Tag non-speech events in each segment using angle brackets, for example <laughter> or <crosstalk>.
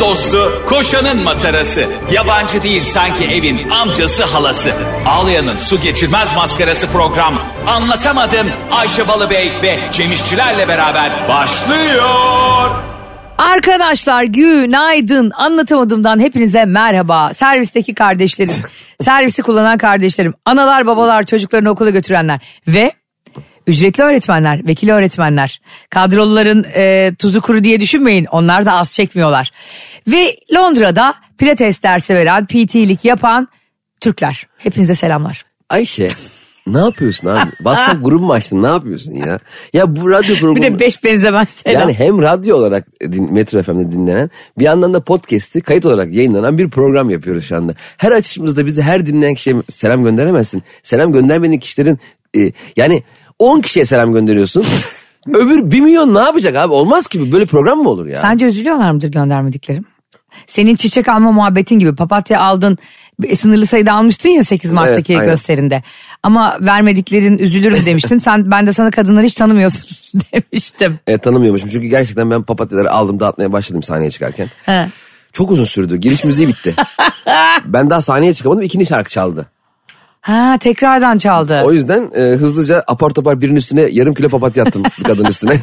dostu, koşanın matarası. Yabancı değil sanki evin amcası halası. Ağlayanın su geçirmez maskarası program. Anlatamadım Ayşe Balıbey ve Cemişçilerle beraber başlıyor. Arkadaşlar günaydın. Anlatamadığımdan hepinize merhaba. Servisteki kardeşlerim, <laughs> servisi kullanan kardeşlerim, analar, babalar, çocuklarını okula götürenler ve ücretli öğretmenler, vekil öğretmenler. Kadroluların e, tuzu kuru diye düşünmeyin. Onlar da az çekmiyorlar. Ve Londra'da pilates dersi veren, PT'lik yapan Türkler. Hepinize selamlar. Ayşe ne yapıyorsun abi? WhatsApp grubu mu açtın ne yapıyorsun ya? Ya bu radyo programı... Bir de beş benzemez selam. Yani hem radyo olarak din, Metro FM'de dinlenen bir yandan da podcast'i kayıt olarak yayınlanan bir program yapıyoruz şu anda. Her açışımızda bizi her dinleyen kişiye selam gönderemezsin. Selam göndermediğin kişilerin e, yani 10 kişiye <laughs> selam gönderiyorsun. Öbür 1 milyon ne yapacak abi? Olmaz ki bu. böyle program mı olur ya? Sence üzülüyorlar mıdır göndermediklerim? Senin çiçek alma muhabbetin gibi papatya aldın e, sınırlı sayıda almıştın ya 8 Mart'taki aynen. gösterinde. Ama vermediklerin üzülürüm <laughs> demiştin. Sen ben de sana kadınları hiç tanımıyorsun <laughs> demiştim. E, tanımıyormuşum çünkü gerçekten ben papatyaları aldım dağıtmaya başladım sahneye çıkarken. He. Çok uzun sürdü. Giriş müziği bitti. ben daha sahneye çıkamadım. ikinci şarkı çaldı. Ha tekrardan çaldı. O yüzden e, hızlıca apar topar birinin üstüne yarım kilo papatya attım bir kadının üstüne. <laughs>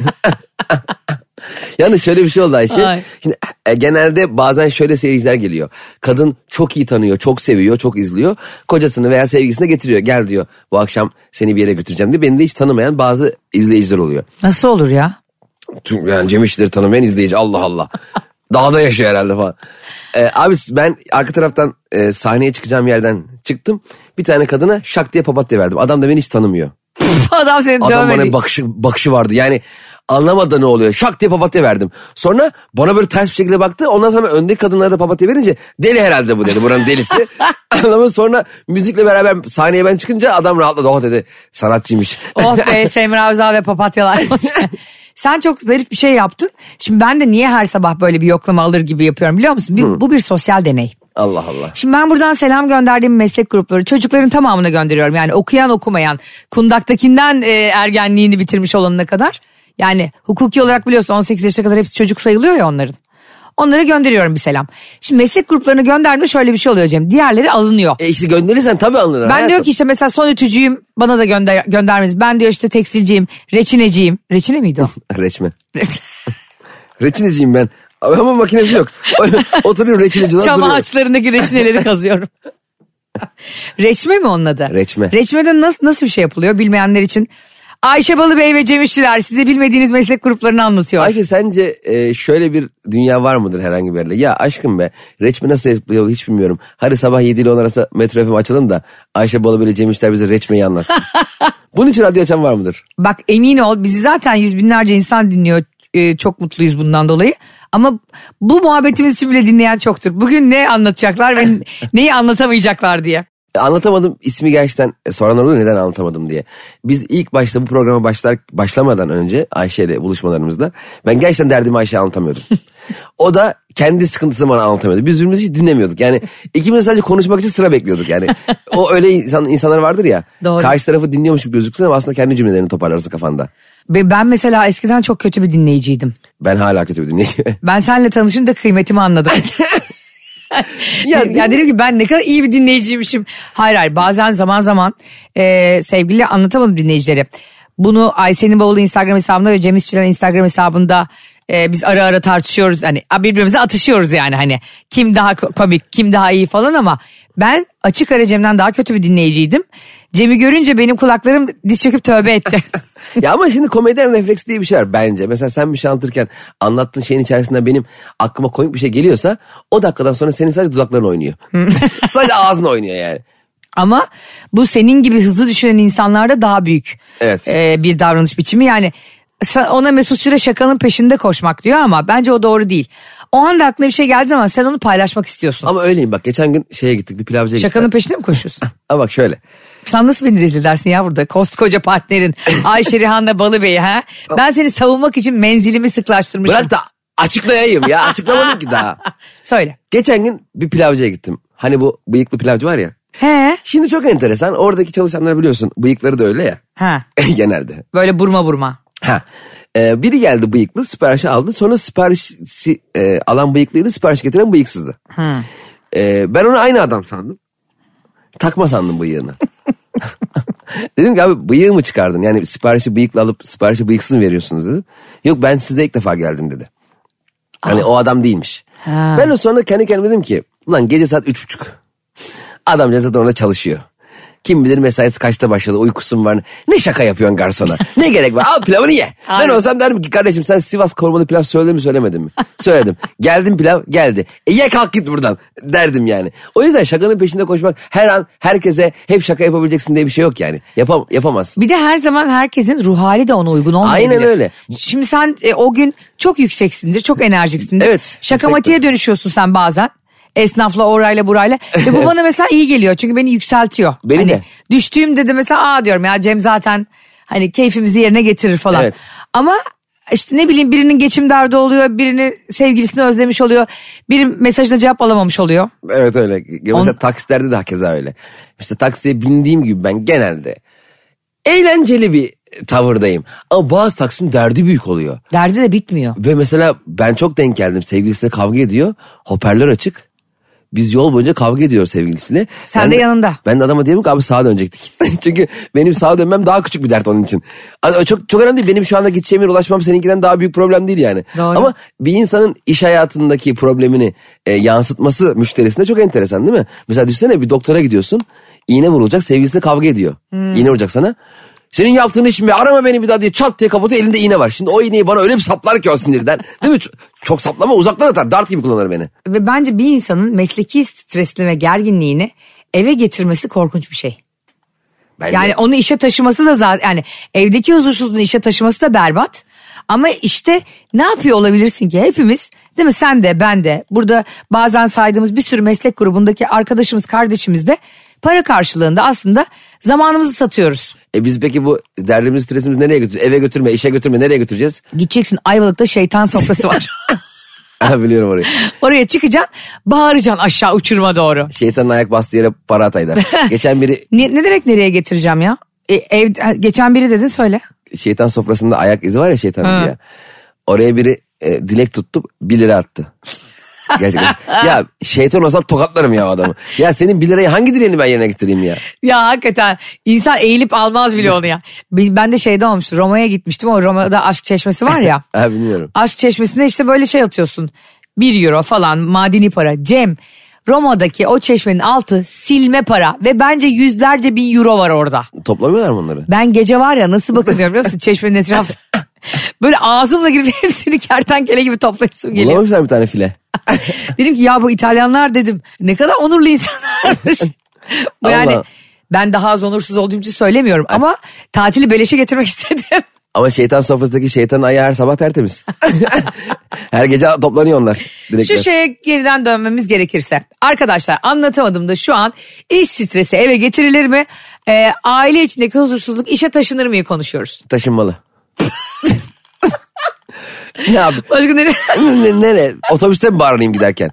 Yani şöyle bir şey oldu Ayşe. Ay. Şimdi, e, genelde bazen şöyle seyirciler geliyor. Kadın çok iyi tanıyor, çok seviyor, çok izliyor. Kocasını veya sevgisini getiriyor. Gel diyor bu akşam seni bir yere götüreceğim diye. Beni de hiç tanımayan bazı izleyiciler oluyor. Nasıl olur <laughs> ya? Tüm, yani Cem İşçileri tanımayan izleyici Allah Allah. Dağda yaşıyor herhalde falan. Ee, abi ben arka taraftan e, sahneye çıkacağım yerden çıktım. Bir tane kadına şak diye papatya verdim. Adam da beni hiç tanımıyor. Adam seni Adam bana dövmedi. bakışı, bakışı vardı. Yani anlamadı ne oluyor. Şak diye papatya verdim. Sonra bana böyle ters bir şekilde baktı. Ondan sonra ben öndeki kadınlara da papatya verince deli herhalde bu dedi. <laughs> Buranın delisi. Anlamadı sonra müzikle beraber sahneye ben çıkınca adam rahatladı. Oh dedi sanatçıymış. <laughs> Oh be Semra Özal ve papatyalar. <laughs> Sen çok zarif bir şey yaptın. Şimdi ben de niye her sabah böyle bir yoklama alır gibi yapıyorum biliyor musun? Bir- bu bir sosyal deney. Allah Allah. Şimdi ben buradan selam gönderdiğim meslek grupları çocukların tamamına gönderiyorum. Yani okuyan okumayan kundaktakinden e, ergenliğini bitirmiş olanına kadar. Yani hukuki olarak biliyorsun 18 yaşa kadar hepsi çocuk sayılıyor ya onların. Onlara gönderiyorum bir selam. Şimdi meslek gruplarını gönderme şöyle bir şey oluyor Cem. Diğerleri alınıyor. E işte gönderirsen tabii alınır. Ben hayatım. diyor ki işte mesela son ütücüyüm bana da gönder göndermeniz. Ben diyor işte tekstilciyim, reçineciyim. Reçine miydi o? Reçme. Reçineciyim ben. Ama makinesi yok. Oturuyorum reçineciden Çam duruyorum. ağaçlarındaki reçineleri kazıyorum. Reçme mi onun adı? Reçme. Reçmede nasıl, nasıl bir şey yapılıyor bilmeyenler için? Ayşe Balıbey ve Cem İşçiler size bilmediğiniz meslek gruplarını anlatıyor. Ayşe sence e, şöyle bir dünya var mıdır herhangi bir yerde? Ya aşkım be reçme nasıl yapılıyor hiç bilmiyorum. Hadi sabah 7 ile 10 arası metro FM açalım da Ayşe Balı böyle Cem İşler bize reçmeyi anlatsın. Bunun için radyo açan var mıdır? Bak emin ol bizi zaten yüz binlerce insan dinliyor. Ee, çok mutluyuz bundan dolayı. Ama bu muhabbetimiz için bile dinleyen çoktur. Bugün ne anlatacaklar ve neyi anlatamayacaklar diye. E, Anlatamadım ismi gerçekten e, soranlar oluyor neden anlatamadım diye. Biz ilk başta bu programa başlar başlamadan önce Ayşe ile buluşmalarımızda ben gerçekten derdimi Ayşe'ye anlatamıyordum. o da kendi sıkıntısını bana anlatamıyordu. Biz birbirimizi hiç dinlemiyorduk. Yani ikimiz sadece konuşmak için sıra bekliyorduk yani. o öyle insan, insanlar vardır ya. Doğru. Karşı tarafı dinliyormuş gibi gözüksün ama aslında kendi cümlelerini toparlarsın kafanda. Ve Ben mesela eskiden çok kötü bir dinleyiciydim. Ben hala kötü bir dinleyici. Ben seninle tanışınca kıymetimi anladım. ya, ya dedim ki ben ne kadar iyi bir dinleyiciymişim. Hayır hayır bazen zaman zaman e, sevgili anlatamadım dinleyicileri. Bunu Aysen'in bavulu Instagram hesabında ve Cem İşçilerin Instagram hesabında e, biz ara ara tartışıyoruz. Hani birbirimize atışıyoruz yani hani kim daha ko- komik kim daha iyi falan ama ben açık ara Cem'den daha kötü bir dinleyiciydim. Cem'i görünce benim kulaklarım diz çöküp tövbe etti. ya ama şimdi komedyen refleksi diye bir şey var bence. Mesela sen bir şey anlatırken anlattığın şeyin içerisinden benim aklıma komik bir şey geliyorsa o dakikadan sonra senin sadece dudakların oynuyor. <laughs> sadece ağzın oynuyor yani. Ama bu senin gibi hızlı düşünen insanlarda daha büyük Evet. e, bir davranış biçimi. Yani sa- ona Mesut Süre şakanın peşinde koşmak diyor ama bence o doğru değil. O anda aklına bir şey geldi ama sen onu paylaşmak istiyorsun. Ama öyleyim bak geçen gün şeye gittik bir pilavcıya gittik. Şakanın peşinde mi <laughs> koşuyorsun? Ama bak şöyle. Sen nasıl beni rezil edersin ya burada? Koskoca partnerin Ayşe Rihanna Balıbey ha? Ben seni savunmak için menzilimi sıklaştırmışım. Bırak da açıklayayım ya açıklamadım ki daha. Söyle. Geçen gün bir pilavcıya gittim. Hani bu bıyıklı pilavcı var ya. He. Şimdi çok enteresan oradaki çalışanları biliyorsun bıyıkları da öyle ya. Ha. <laughs> Genelde. Böyle burma burma. Ha. Ee, biri geldi bıyıklı siparişi aldı. Sonra siparişi e, alan bıyıklıydı sipariş getiren bıyıksızdı. Ee, ben onu aynı adam sandım. Takma sandım bıyığını. <laughs> dedim ki abi bıyığı mı çıkardın? Yani siparişi bıyıkla alıp siparişi bıyıksız mı veriyorsunuz dedim. Yok ben size ilk defa geldim dedi. Hani o adam değilmiş. Ben de sonra kendi kendime dedim ki ulan gece saat üç buçuk. Adam zaten orada çalışıyor. Kim bilir mesaisi kaçta başladı uykusun var. Ne şaka yapıyorsun garsona? ne gerek var? Al pilavını ye. ben Aynen. olsam derdim ki kardeşim sen Sivas kormalı pilav söyledin mi söylemedin mi? Söyledim. Geldim pilav geldi. E ye kalk git buradan derdim yani. O yüzden şakanın peşinde koşmak her an herkese hep şaka yapabileceksin diye bir şey yok yani. Yapam yapamazsın. Bir de her zaman herkesin ruh hali de ona uygun olmayabilir. Aynen öyle. Şimdi sen e, o gün çok yükseksindir, çok enerjiksindir. Evet, Şakamatiğe dönüşüyorsun sen bazen. Esnafla orayla burayla. Ve <laughs> bu bana mesela iyi geliyor çünkü beni yükseltiyor. Beni hani de. Düştüğümde de mesela aa diyorum ya Cem zaten hani keyfimizi yerine getirir falan. Evet. Ama işte ne bileyim birinin geçim derdi oluyor, birini sevgilisini özlemiş oluyor, biri mesajına cevap alamamış oluyor. Evet öyle. Ya Mesela On- taksilerde de hakeza öyle. İşte taksiye bindiğim gibi ben genelde eğlenceli bir tavırdayım. Ama bazı taksinin derdi büyük oluyor. Derdi de bitmiyor. Ve mesela ben çok denk geldim. Sevgilisiyle kavga ediyor. Hoparlör açık. Biz yol boyunca kavga ediyoruz sevgilisine. Sen de yanında. Ben de adama diyorum ki abi sağa dönecektik. <laughs> Çünkü benim sağa dönmem daha küçük bir dert onun için. Hani o Çok çok önemli değil. Benim şu anda gideceğim yere ulaşmam seninkinden daha büyük problem değil yani. Doğru. Ama bir insanın iş hayatındaki problemini e, yansıtması müşterisine çok enteresan değil mi? Mesela düşünsene bir doktora gidiyorsun. iğne vurulacak sevgilisiyle kavga ediyor. Hmm. İğne vuracak sana. Senin yaptığın iş mi? Arama beni bir daha diye çat diye kapatıyor elinde iğne var. Şimdi o iğneyi bana öyle bir saplar ki o sinirden. Değil mi? Çok, çok saplama uzaktan atar. Dart gibi kullanır beni. Ve bence bir insanın mesleki stresini ve gerginliğini eve getirmesi korkunç bir şey. Bence. Yani onu işe taşıması da zaten yani evdeki huzursuzluğunu işe taşıması da berbat. Ama işte ne yapıyor olabilirsin ki hepimiz değil mi sen de ben de burada bazen saydığımız bir sürü meslek grubundaki arkadaşımız kardeşimiz de para karşılığında aslında zamanımızı satıyoruz. E biz peki bu derdimiz stresimizi nereye götüreceğiz? Eve götürme, işe götürme nereye götüreceğiz? <laughs> Gideceksin Ayvalık'ta şeytan sofrası var. Ha, biliyorum orayı. Oraya çıkacaksın bağıracaksın aşağı uçuruma doğru. Şeytanın ayak bastığı yere para <laughs> ataylar. Geçen biri Ne, ne demek nereye getireceğim ya? E, ev, ha, geçen biri dedin söyle. şeytan sofrasında ayak izi var ya şeytanın Hı. ya. Oraya biri e, dilek tuttu 1 lira attı. Gerçekten. <laughs> ya şeytan olsam tokatlarım ya o adamı. Ya senin 1 lirayı hangi dileğini ben yerine getireyim ya? Ya hakikaten insan eğilip almaz bile onu ya. Bi- Ben de şeyde olmuştu Roma'ya gitmiştim o Roma'da aşk çeşmesi var ya. Ha bilmiyorum. aşk çeşmesine işte böyle şey atıyorsun. 1 euro falan madeni para. Cem Roma'daki o çeşmenin altı silme para ve bence yüzlerce bin euro var orada. Toplamıyorlar mı onları? Ben gece var ya nasıl bakınıyorum biliyor musun çeşmenin etrafı. Böyle ağzımla girip <laughs> hepsini kertenkele gibi toplayasım geliyor. Bulamamışlar bir tane file. <laughs> Dedim ki ya bu İtalyanlar dedim. Ne kadar onurlu insanlarmış. bu yani Allah. ben daha az onursuz olduğum için söylemiyorum ama tatili beleşe getirmek <laughs> istedim. Ama şeytan sofrasındaki şeytanın ayağı her <laughs> sabah tertemiz. her gece toplanıyor onlar. Dilekler. Şu şeye geriden dönmemiz gerekirse. Arkadaşlar anlatamadım da şu an iş stresi eve getirilir mi? Ee, aile içindeki huzursuzluk işe taşınır mı konuşuyoruz. Taşınmalı. <laughs> ne abi? Başka ne? Ne- Nere? Otobüste mi bağırayım giderken?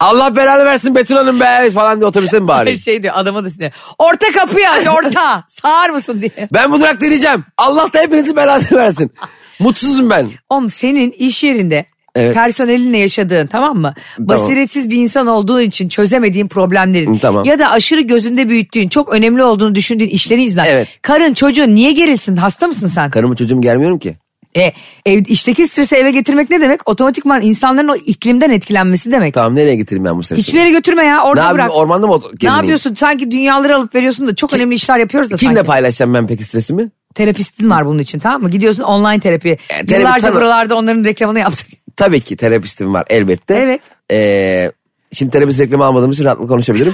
Allah belanı versin Betül Hanım be falan diye otobüste mi Her <laughs> bağırayım? şey diyor adama da sinir. Orta kapıyı aç orta. Sağır mısın diye. Ben bu durakta ineceğim. Allah da hepinizin belasını versin. Mutsuzum ben. Oğlum senin iş yerinde Evet. personelinle yaşadığın tamam mı? Basiretsiz bir insan olduğun için çözemediğin problemlerin Hı, tamam. ya da aşırı gözünde büyüttüğün çok önemli olduğunu düşündüğün işlerin yüzünden. Evet. Karın çocuğun niye gerilsin hasta mısın sen? Karımı çocuğum gelmiyorum ki. E, ev, işteki stresi eve getirmek ne demek? Otomatikman insanların o iklimden etkilenmesi demek. Tamam nereye getireyim ben bu sesi? Hiçbir yere götürme ya ne orada yapayım bırak. ormanda mı ot- ne gezineyim? yapıyorsun? Sanki dünyaları alıp veriyorsun da çok önemli işler yapıyoruz da Kimle sanki. paylaşacağım ben peki stresimi? Terapistin var bunun için tamam mı? Gidiyorsun online terapiye. terapi Yıllarca tamam. buralarda onların reklamını yaptık. Tabii ki terapistim var elbette. Evet. Ee, şimdi terapist reklamı almadığım için rahatlıkla <laughs> konuşabilirim.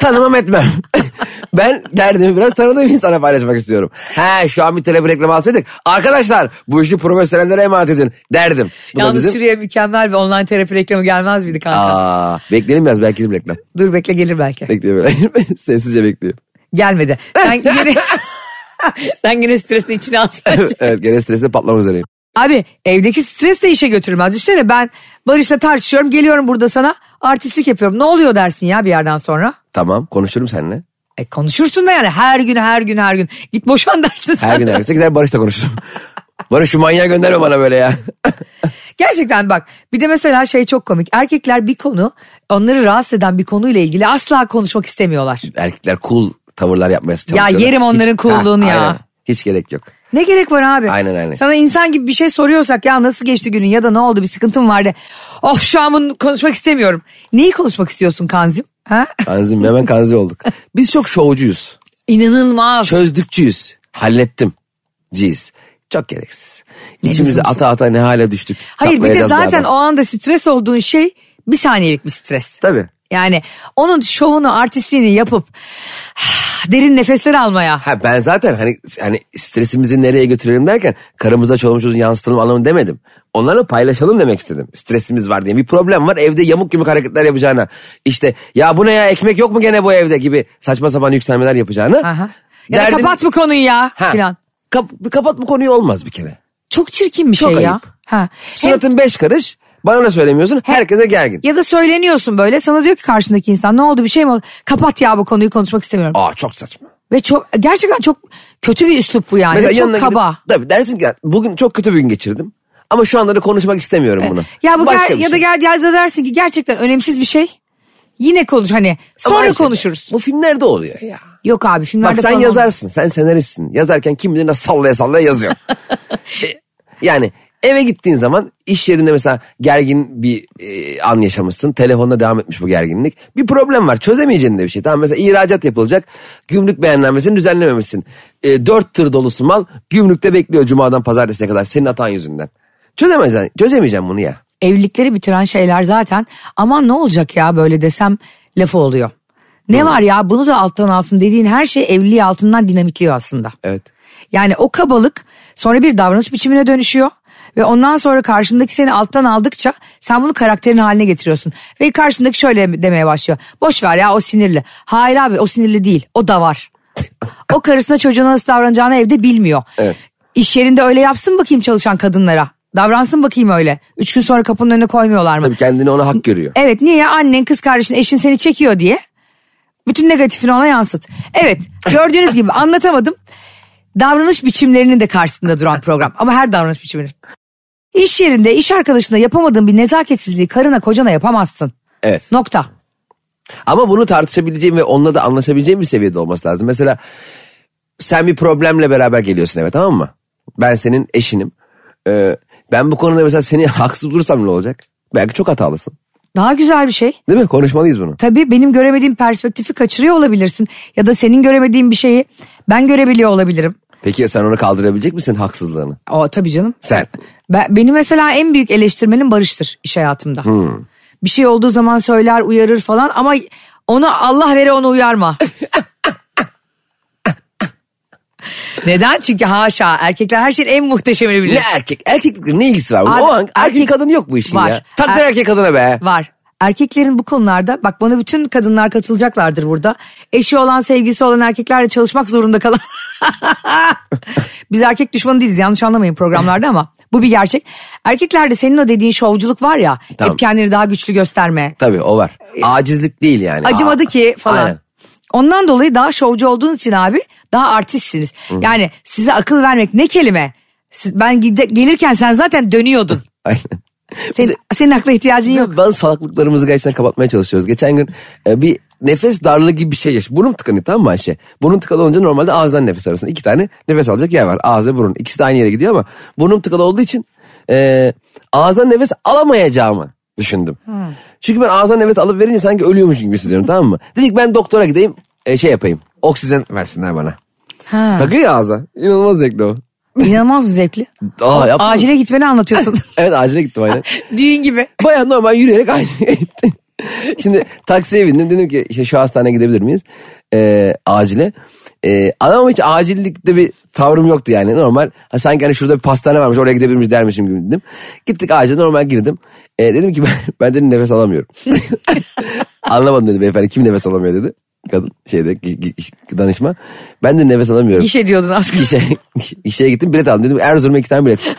Tanımam etmem. <laughs> ben derdimi biraz tanıdığım insana paylaşmak istiyorum. He şu an bir terapi reklamı alsaydık. Arkadaşlar bu işi profesyonellere emanet edin derdim. Bu da Yalnız bizim- şuraya mükemmel bir online terapi reklamı gelmez miydi kanka? Aa, bekleyelim biraz belki de bir reklam. Dur bekle gelir belki. Bekliyorum. <laughs> Sessizce bekliyorum. Gelmedi. <laughs> Sen yine, sen yine stresini içine alsın. evet gene stresle patlama üzereyim. <laughs> Abi evdeki stres de işe götürmez. Düşünsene ben Barış'la tartışıyorum geliyorum burada sana artistlik yapıyorum. Ne oluyor dersin ya bir yerden sonra? Tamam konuşurum seninle. E konuşursun da yani her gün her gün her gün. Git boşan dersin. <laughs> Her gün her gün. Gider Barış'la konuşurum. Bana şu manyağı gönderme bana böyle ya. Gerçekten bak bir de mesela şey çok komik. Erkekler bir konu onları rahatsız eden bir konuyla ilgili asla konuşmak istemiyorlar. Erkekler cool tavırlar yapmaya çalışıyorlar. yerim onların cool'luğunu Ha, ya. aynen. Hiç gerek yok. Ne gerek var abi? Aynen, aynen. Sana insan gibi bir şey soruyorsak ya nasıl geçti günün ya da ne oldu bir sıkıntın vardı. Of şu an bunu konuşmak istemiyorum. Neyi konuşmak istiyorsun Kanzim? Ha? <laughs> Kanzim hemen kanzi olduk. Biz çok şovcuyuz. İnanılmaz. Çözdükçüyüz. Hallettim. Ciz. Çok gereksiz. İçimize ata ata ne hale düştük. Hayır bir de Çatlayacağız zaten adam. o anda stres olduğun şey bir saniyelik bir stres. Tabii. Yani onun şovunu artistliğini yapıp <sighs> derin nefesler almaya. Ha ben zaten hani hani stresimizi nereye götürelim derken karımıza çoluğumuza yansıtalım anlamı demedim. Onlarla paylaşalım demek istedim. Stresimiz var diye bir problem var evde yamuk yumuk hareketler yapacağına. İşte ya bu ne ya ekmek yok mu gene bu evde gibi saçma sapan yükselmeler yapacağına. Aha. Ya da Derdini- kapat bu konuyu ya Ha, filan. kap- kapat bu konuyu olmaz bir kere. Çok çirkin bir Çok şey ya. ayıp. Ha. Hem- Suratın beş karış bana ne söylemiyorsun herkese gergin. ya da söyleniyorsun böyle sana diyor ki karşındaki insan ne oldu bir şey mi oldu? Kapat ya bu konuyu konuşmak istemiyorum. Aa çok saçma. Ve çok gerçekten çok kötü bir üslup bu yani. Ve yanına çok gidip- kaba. tabii dersin ki "Ya bugün çok kötü bir gün geçirdim. Ama şu anda da konuşmak istemiyorum bunu. E, Ya bu Başka ger- bir ya da şey. gel ya da dersin ki gerçekten önemsiz bir şey. Yine konuş hani Ama sonra Ayşe, konuşuruz. Bu filmlerde oluyor ya. Yok abi filmlerde Bak sen falan olmuyor. yazarsın. Sen senaristsin. Yazarken kim bilir nasıl sallaya <laughs> sallaya yazıyor. E, yani eve gittiğin zaman iş yerinde mesela gergin bir e, an yaşamışsın. Telefonda devam etmiş bu gerginlik. Bir problem var. Çözemeyeceğin de bir şey. Tamam mesela ihracat yapılacak. Gümrük beğenlenmesini düzenlememişsin. E, dört tır dolusu mal gümrükte bekliyor cumadan pazartesine kadar senin hatan yüzünden. Çözemeyeceksin, çözemeyeceğim bunu ya. Evlilikleri bitiren şeyler zaten aman ne olacak ya böyle desem lafı oluyor. Ne var ya bunu da alttan alsın dediğin her şey evliliği altından dinamitliyor aslında. Evet. Yani o kabalık sonra bir davranış biçimine dönüşüyor. Ve ondan sonra karşındaki seni alttan aldıkça sen bunu karakterin haline getiriyorsun. Ve karşındaki şöyle demeye başlıyor. Boş ver ya o sinirli. Hayır abi o sinirli değil. O da var. o karısına çocuğuna nasıl davranacağını evde bilmiyor. Evet. İş yerinde öyle yapsın bakayım çalışan kadınlara. Davransın bakayım öyle. Üç gün sonra kapının önüne koymuyorlar mı? Tabii kendini ona hak görüyor. Evet niye annen kız kardeşin eşin seni çekiyor diye. Bütün negatifini ona yansıt. Evet gördüğünüz gibi anlatamadım. Davranış biçimlerinin de karşısında duran program ama her davranış biçiminin. İş yerinde iş arkadaşına yapamadığın bir nezaketsizliği karına kocana yapamazsın. Evet. Nokta. Ama bunu tartışabileceğim ve onunla da anlaşabileceğim bir seviyede olması lazım. Mesela sen bir problemle beraber geliyorsun eve tamam mı? Ben senin eşinim. Ee, ben bu konuda mesela seni <laughs> haksız bulursam ne olacak? Belki çok hatalısın. Daha güzel bir şey. Değil mi? Konuşmalıyız bunu. Tabii benim göremediğim perspektifi kaçırıyor olabilirsin. Ya da senin göremediğin bir şeyi ben görebiliyor olabilirim. Peki sen onu kaldırabilecek misin haksızlığını? O tabii canım. <laughs> Sen. Ben, benim mesela en büyük eleştirmenim Barış'tır iş hayatımda. Bir şey olduğu zaman söyler, uyarır falan ama onu Allah vere onu uyarma. Neden? Çünkü haşa erkekler her şeyin en muhteşemini bilir. Ne erkek? Erkeklikle ne ilgisi var? bunun? Abi, o an erkek, erkek- kadın yok bu işin Var. ya. Takdir Er- erkek kadına be. Var. Erkeklerin bu konularda bak bana bütün kadınlar katılacaklardır burada. Eşi olan sevgisi olan erkeklerle çalışmak zorunda kalan. <laughs> Biz erkek düşmanı değiliz yanlış anlamayın programlarda ama bu bir gerçek. Erkeklerde senin o dediğin şovculuk var ya Tamam. hep kendini daha güçlü gösterme. Tabii o var. Acizlik değil yani. E- Acımadı Aa, ki falan. Aynen. Ondan dolayı daha şovcu olduğunuz için abi daha artistsiniz. Yani size akıl vermek ne kelime. Siz- ben gide- gelirken sen zaten <laughs> dönüyordun. Aynen. Senin, senin akla ihtiyacın yok. Yok. Bazı salaklıklarımızı gerçekten kapatmaya çalışıyoruz. Geçen gün e, bir nefes darlığı gibi bir şey yaşadım. Burnum tıkanıyor tamam mı Ayşe? Burnum tıkalı olunca normalde ağızdan nefes arasında iki tane nefes alacak yer var. Ağız ve burun. İkisi de aynı yere gidiyor ama burnum tıkalı olduğu için e, ağızdan nefes alamayacağımı düşündüm. Çünkü ben ağızdan nefes alıp verince sanki ölüyormuş gibi hissediyorum tamam mı? Dedik ben doktora gideyim e, şey yapayım. Oksijen versinler bana. Ha. Takıyor ya ağza. İnanılmaz zevkli o. İnanılmaz mı zevkli? Aa, yaptın mı? Acile gitmeni anlatıyorsun. Evet acile gittim aynen. <laughs> Düğün gibi. Baya normal yürüyerek aynaya gittim. <laughs> Şimdi taksiye bindim dedim ki işte şu hastaneye gidebilir miyiz? Ee, acile. Ee, adam hiç acillikte bir tavrım yoktu yani normal. Ha, sanki hani şurada bir pastane varmış oraya gidebilir miyiz dermişim gibi dedim. Gittik acile normal girdim. Ee, dedim ki <laughs> ben, ben dedim nefes alamıyorum. <laughs> Anlamadım dedi beyefendi kim nefes alamıyor dedi. Kadın şeyde gi- gi- danışma. Ben de nefes <laughs> alamıyorum <laughs> İş ediyordun aslında. işe, işe gittim bilet aldım. Dedim Erzurum'a iki tane bilet.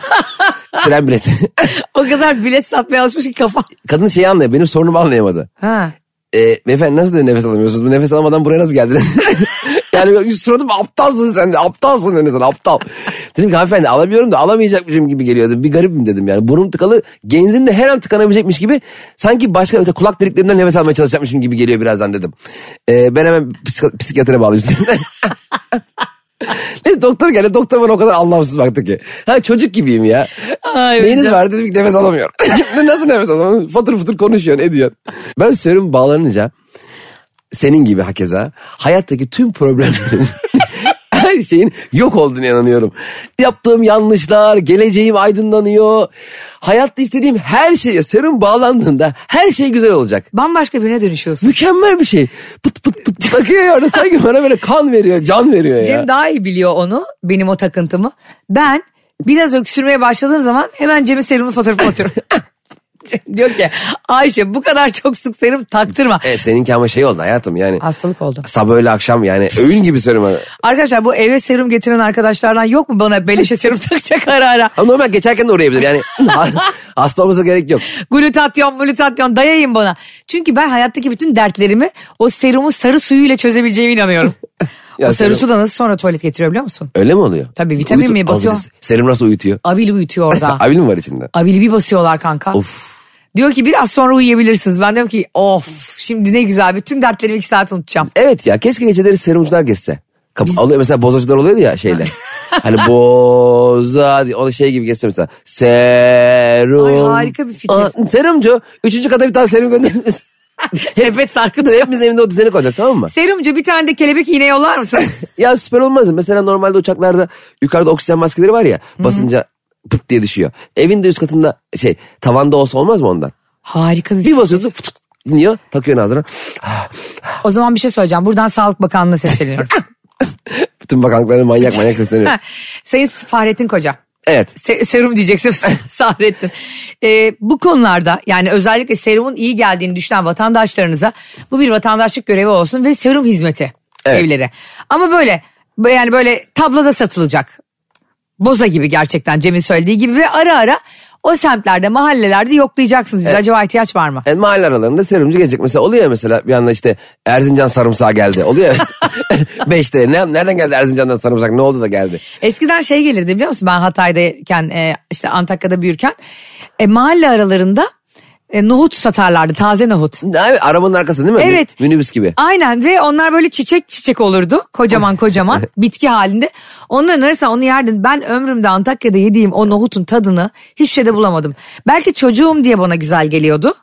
Tren bileti. <laughs> <laughs> o kadar bilet satmaya alışmış ki kafam. Kadın şeyi anlıyor. Benim sorunumu anlayamadı. Ha. E, beyefendi nasıl dedi nefes alamıyorsunuz? Bu nefes alamadan buraya nasıl geldiniz? <laughs> Yani suratım aptalsın sen de aptalsın dedi sana aptal. Dedim ki hanımefendi alamıyorum da alamayacakmışım gibi geliyordu. Bir garibim dedim yani. Burnum tıkalı genzin de her an tıkanabilecekmiş gibi sanki başka öte kulak deliklerinden nefes almaya çalışacakmışım gibi geliyor birazdan dedim. Ee, ben hemen psik- psikiyatra bağlayayım <laughs> seni. Neyse doktor geldi. Doktor bana o kadar anlamsız baktı ki. Ha çocuk gibiyim ya. Ay, Neyiniz hocam. var dedim ki nefes alamıyorum. <laughs> Ne, Nasıl nefes alamıyorum? Fatır fıtır konuşuyorsun ediyorsun. Ben serum bağlanınca senin gibi hakeza hayattaki tüm problemlerin <laughs> her şeyin yok olduğunu inanıyorum. Yaptığım yanlışlar, geleceğim aydınlanıyor. Hayatta istediğim her şeye serum bağlandığında her şey güzel olacak. Bambaşka birine dönüşüyorsun. Mükemmel bir şey. Pıt pıt pıt pıt akıyor ya orada sanki bana böyle kan veriyor, can veriyor ya. Cem daha iyi biliyor onu benim o takıntımı. Ben biraz öksürmeye başladığım zaman hemen Cem'in serumun fotoğrafını <laughs> atıyorum. Cem diyor ki Ayşe bu kadar çok sık serum taktırma. E, seninki ama şey oldu hayatım yani. Hastalık oldu. Sabah öyle akşam yani öğün gibi serum. bana. Arkadaşlar bu eve serum getiren arkadaşlardan yok mu bana beleşe serum <laughs> takacak ara ara? Ama normal geçerken de <laughs> uğrayabilir yani. Hasta olmasına gerek yok. Glutatyon, glutatyon dayayın bana. Çünkü ben hayattaki bütün dertlerimi o serumun sarı suyuyla çözebileceğime inanıyorum. <laughs> Ya o sarı serum- su da nasıl sonra tuvalet getiriyor biliyor musun? Öyle mi oluyor? Tabii, vitamin mi basıyor? Avilis- Serum nasıl uyutuyor? Avili uyutuyor <laughs> orada. Avil mi var içinde? Avili bir basıyorlar kanka. Of. Diyor ki biraz sonra uyuyabilirsiniz. Ben diyorum ki of şimdi ne güzel bütün dertlerimi iki saat unutacağım. <laughs> Evet ya keşke geceleri serumcular geçse. Kap- alıyor, mesela bozacılar oluyordu <laughs> ya şeyle. hani boza diye, o da şey gibi geçse mesela. Serum. Ay, harika bir fikir. Aa, serumcu. Üçüncü kata bir tane serum göndeririz. Nefes sarkıtı. Hepimizin evinde o düzeni koyacak tamam mı? Serumcu bir tane de kelebek iğne yollar <laughs> mısın? Ya süper olmaz mı? Mesela normalde uçaklarda yukarıda oksijen maskeleri var ya basınca pıt diye düşüyor. Evin de üst katında şey tavanda olsa olmaz mı ondan? Harika bir Bir basıyorsun fıtık iniyor takıyorsun ağzına. O zaman bir şey söyleyeceğim. Buradan Sağlık Bakanlığı'na sesleniyorum. Bütün bakanlıkların manyak <laughs> manyak sesleniyor. Sayın Fahrettin Koca. Evet. Se- serum diyeceksin <laughs> Sahrettin. Ee, bu konularda yani özellikle serumun iyi geldiğini düşünen vatandaşlarınıza bu bir vatandaşlık görevi olsun ve serum hizmeti Evet. evlere. Ama böyle bö- yani böyle tabloda satılacak. Boza gibi gerçekten Cem'in söylediği gibi ve ara ara o semtlerde mahallelerde yoklayacaksınız biz acaba ihtiyaç var mı? Yani E, mahalle aralarında serumcu gelecek. Mesela oluyor ya mesela bir anda işte Erzincan sarımsağı geldi. Oluyor ya. <laughs> Beşte. Ne, nereden geldi Erzincan'dan sarımsak? Ne oldu da geldi? Eskiden şey gelirdi biliyor musun ben Hatay'dayken e, işte Antakya'da büyürken e, mahalle aralarında e, nohut satarlardı taze nohut. Abi, arabanın arkasında değil mi? Evet. Mi- Minibüs gibi. Aynen ve onlar böyle çiçek çiçek olurdu. Kocaman <laughs> kocaman bitki halinde. Onların arasında onu yerdim. Ben ömrümde Antakya'da yediğim o nohutun tadını hiçbir şeyde bulamadım. Belki çocuğum diye bana güzel geliyordu.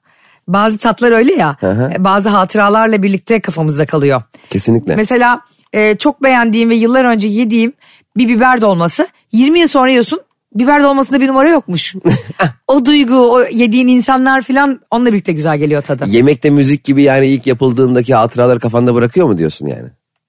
Bazı tatlar öyle ya. e, Bazı hatıralarla birlikte kafamızda kalıyor. Kesinlikle. Mesela e, çok beğendiğim ve yıllar önce yediğim bir biber dolması 20 yıl sonra yiyorsun biber dolmasında bir numara <laughs> yokmuş. o duygu, o yediğin insanlar falan onunla birlikte güzel geliyor tadı. Yemekte müzik gibi yani ilk yapıldığındaki hatıraları kafanda bırakıyor mu diyorsun yani?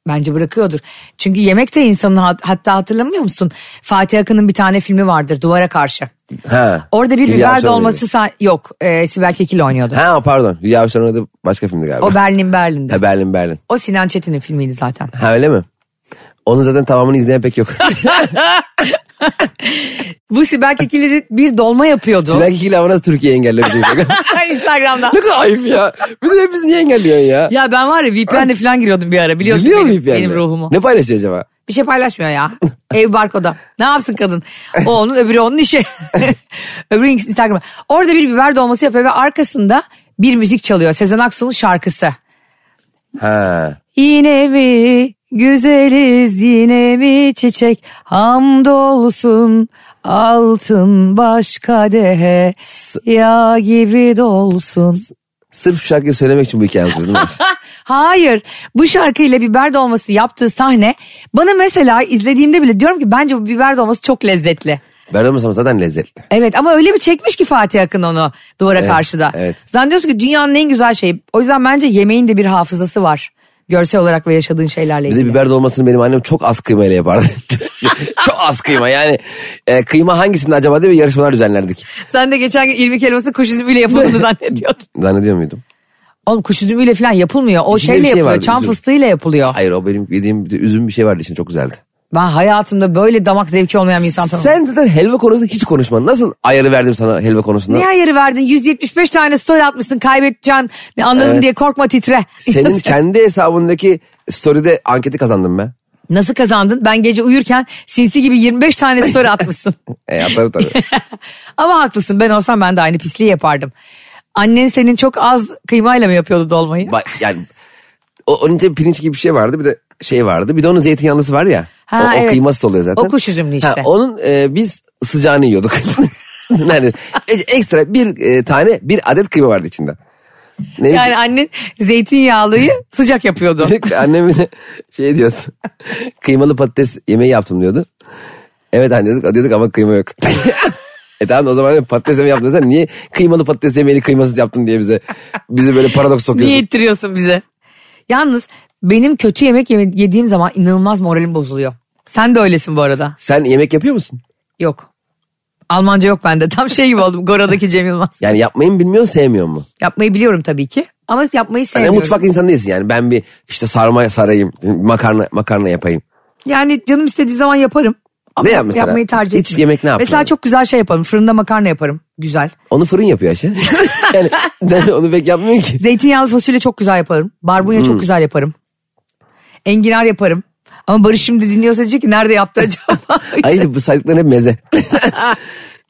Bence bırakıyordur. Çünkü yemek de insanın hat- hatta hatırlamıyor musun? Fatih Akın'ın bir tane filmi vardır Duvara Karşı. Ha. Orada bir Hülya biber Avşar dolması sa- yok. E, Sibel Kekil oynuyordu. Ha pardon. Hülya Avşar'ın adı başka filmdi galiba. O Berlin Berlin'de. Ha, Berlin Berlin. O Sinan Çetin'in filmiydi zaten. Ha öyle mi? Onun zaten tamamını <laughs> izleyen pek yok. Bu Sibel Kekil'in bir dolma yapıyordu. <laughs> Sinan Kikil ama nasıl Türkiye engelledi? Instagram'da. şey ne kadar ayıp ya. Biz de hepimiz niye engelliyorsun ya? Ya ben var ya VPN'le falan giriyordum bir ara biliyorsun Biliyor benim, muyum yani? benim ruhumu. Ne paylaşıyor acaba? Bir şey paylaşmıyor ya. Ev barkoda. Ne yapsın kadın? O onun öbürü onun işi. öbürü Instagram. Orada bir biber dolması yapıyor ve arkasında bir müzik çalıyor. Sezen Aksu'nun şarkısı. Ha. Yine mi güzeliz yine mi çiçek hamdolsun altın baş kadehe yağ gibi dolsun. Sırf şu şarkıyı söylemek için bu hikaye anlatıyorsun değil mi? <laughs> Hayır bu şarkıyla biber dolması yaptığı sahne bana mesela izlediğimde bile diyorum ki bence bu biber dolması çok lezzetli. ben olmasam zaten lezzetli. Evet ama öyle bir çekmiş ki Fatih Akın onu duvara karşıda. evet. Zannediyorsun ki dünyanın en güzel şeyi. O yüzden bence yemeğin de bir hafızası var. Görsel olarak ve yaşadığın şeylerle Bir ilgili. de biber dolmasını benim annem çok az kıymayla yapardı. <laughs> çok az kıyma yani. E, kıyma hangisinde acaba diye bir yarışmalar düzenlerdik. Sen de geçen gün irmik helvası kuş üzümüyle yapıldığını <laughs> zannediyordun. Zannediyor muydum? Oğlum kuş üzümüyle falan yapılmıyor. O İçinde şeyle bir şey yapılıyor. vardı, çam üzüm. fıstığıyla yapılıyor. Hayır o benim yediğim bir de üzüm bir şey vardı için çok güzeldi. Ben hayatımda böyle damak zevki olmayan bir insan tanımadım. Sen zaten helva konusunda hiç konuşman. Nasıl ayarı verdim sana helva konusunda? Ne ayarı verdin? 175 tane story atmışsın kaybedeceğim. Ne anladım diye korkma titre. Senin kendi hesabındaki story'de anketi kazandım ben. Nasıl kazandın? Ben gece uyurken sinsi gibi 25 tane story <laughs> atmışsın. E atarım tabii. <laughs> Ama haklısın ben olsam ben de aynı pisliği yapardım. Annen senin çok az kıymayla mı yapıyordu dolmayı? Ba- yani o, onun için pirinç gibi bir şey vardı bir de şey vardı. Bir de onun zeytinyağlısı var ya. Ha, o, o evet. kıyması oluyor zaten. O kuş üzümlü işte. onun e, biz sıcağını yiyorduk. <laughs> yani e- ekstra bir e, tane bir adet kıyma vardı içinde. Ne Yani annen zeytinyağlıyı <laughs> sıcak yapıyordu. bileyim, annem bir de şey diyordu. Kıymalı patates yemeği yaptım diyordu. Evet anne diyorduk, diyorduk ama kıyma yok. <laughs> e tamam da o zaman patates yemeği yaptın sen niye kıymalı patates yemeğini kıymasız yaptın diye bize bize böyle paradoks sokuyorsun. Niye ettiriyorsun bize? Yalnız benim kötü yemek yeme- yediğim zaman inanılmaz moralim bozuluyor. Sen de öylesin bu arada. Sen yemek yapıyor musun? Yok. Almanca yok bende. Tam şey gibi oldum. Gora'daki Cem Yılmaz. Yani yapmayı mı bilmiyorsun sevmiyor mu? Yapmayı biliyorum tabii ki. Ama yapmayı Yani sevmiyorum. mutfak insanı değilsin yani. Ben bir işte sarma sarayım, makarna makarna yapayım. Yani canım istediği zaman yaparım. Ama Ne yap mesela? Yapmayı tercih Hiç etmiyorum. yemek ne yaptın? Mesela çok güzel şey yaparım. Fırında makarna yaparım. Güzel. Onu fırın yapıyor Ayşe. <laughs> yani ben onu pek <laughs> yapmıyorum ki. Zeytinyağlı fasulye çok güzel yaparım. Barbunya çok güzel yaparım. Enginar yaparım. Ama Barış şimdi dinliyorsa diyecek ki nerede yaptı acaba? Ayrıca bu saydıkların hep meze.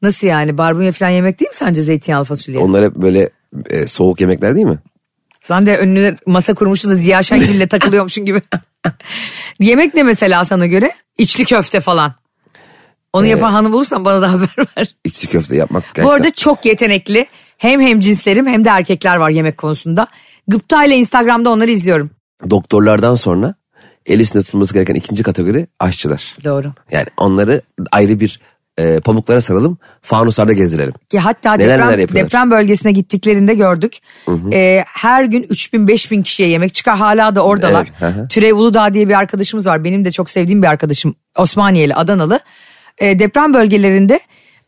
Nasıl yani? Barbunya falan yemek değil mi sence zeytinyağlı fasulye? Onlar hep böyle e, soğuk yemekler değil mi? Sen de önüne masa kurmuşsun da Ziya Şengül'le takılıyormuşsun gibi. yemek ne mesela sana göre? İçli köfte falan. Onu yapan hanım bulursan bana da haber ver. İçli köfte yapmak gerçekten. Bu arada çok yetenekli. Hem hem cinslerim hem de erkekler var yemek konusunda. Gıpta ile Instagram'da onları izliyorum. Doktorlardan sonra el üstünde tutulması gereken ikinci kategori aşçılar. Doğru. Yani onları ayrı bir e, pamuklara saralım, fanuslarda gezdirelim. Ki hatta Neler deprem, neler yapıyorlar. deprem bölgesine gittiklerinde gördük. Ee, her gün 3000-5000 kişiye yemek çıkar. Hala da oradalar. Evet, hı hı. Türev Uludağ diye bir arkadaşımız var. Benim de çok sevdiğim bir arkadaşım. Osmaniyeli, Adanalı. Ee, deprem bölgelerinde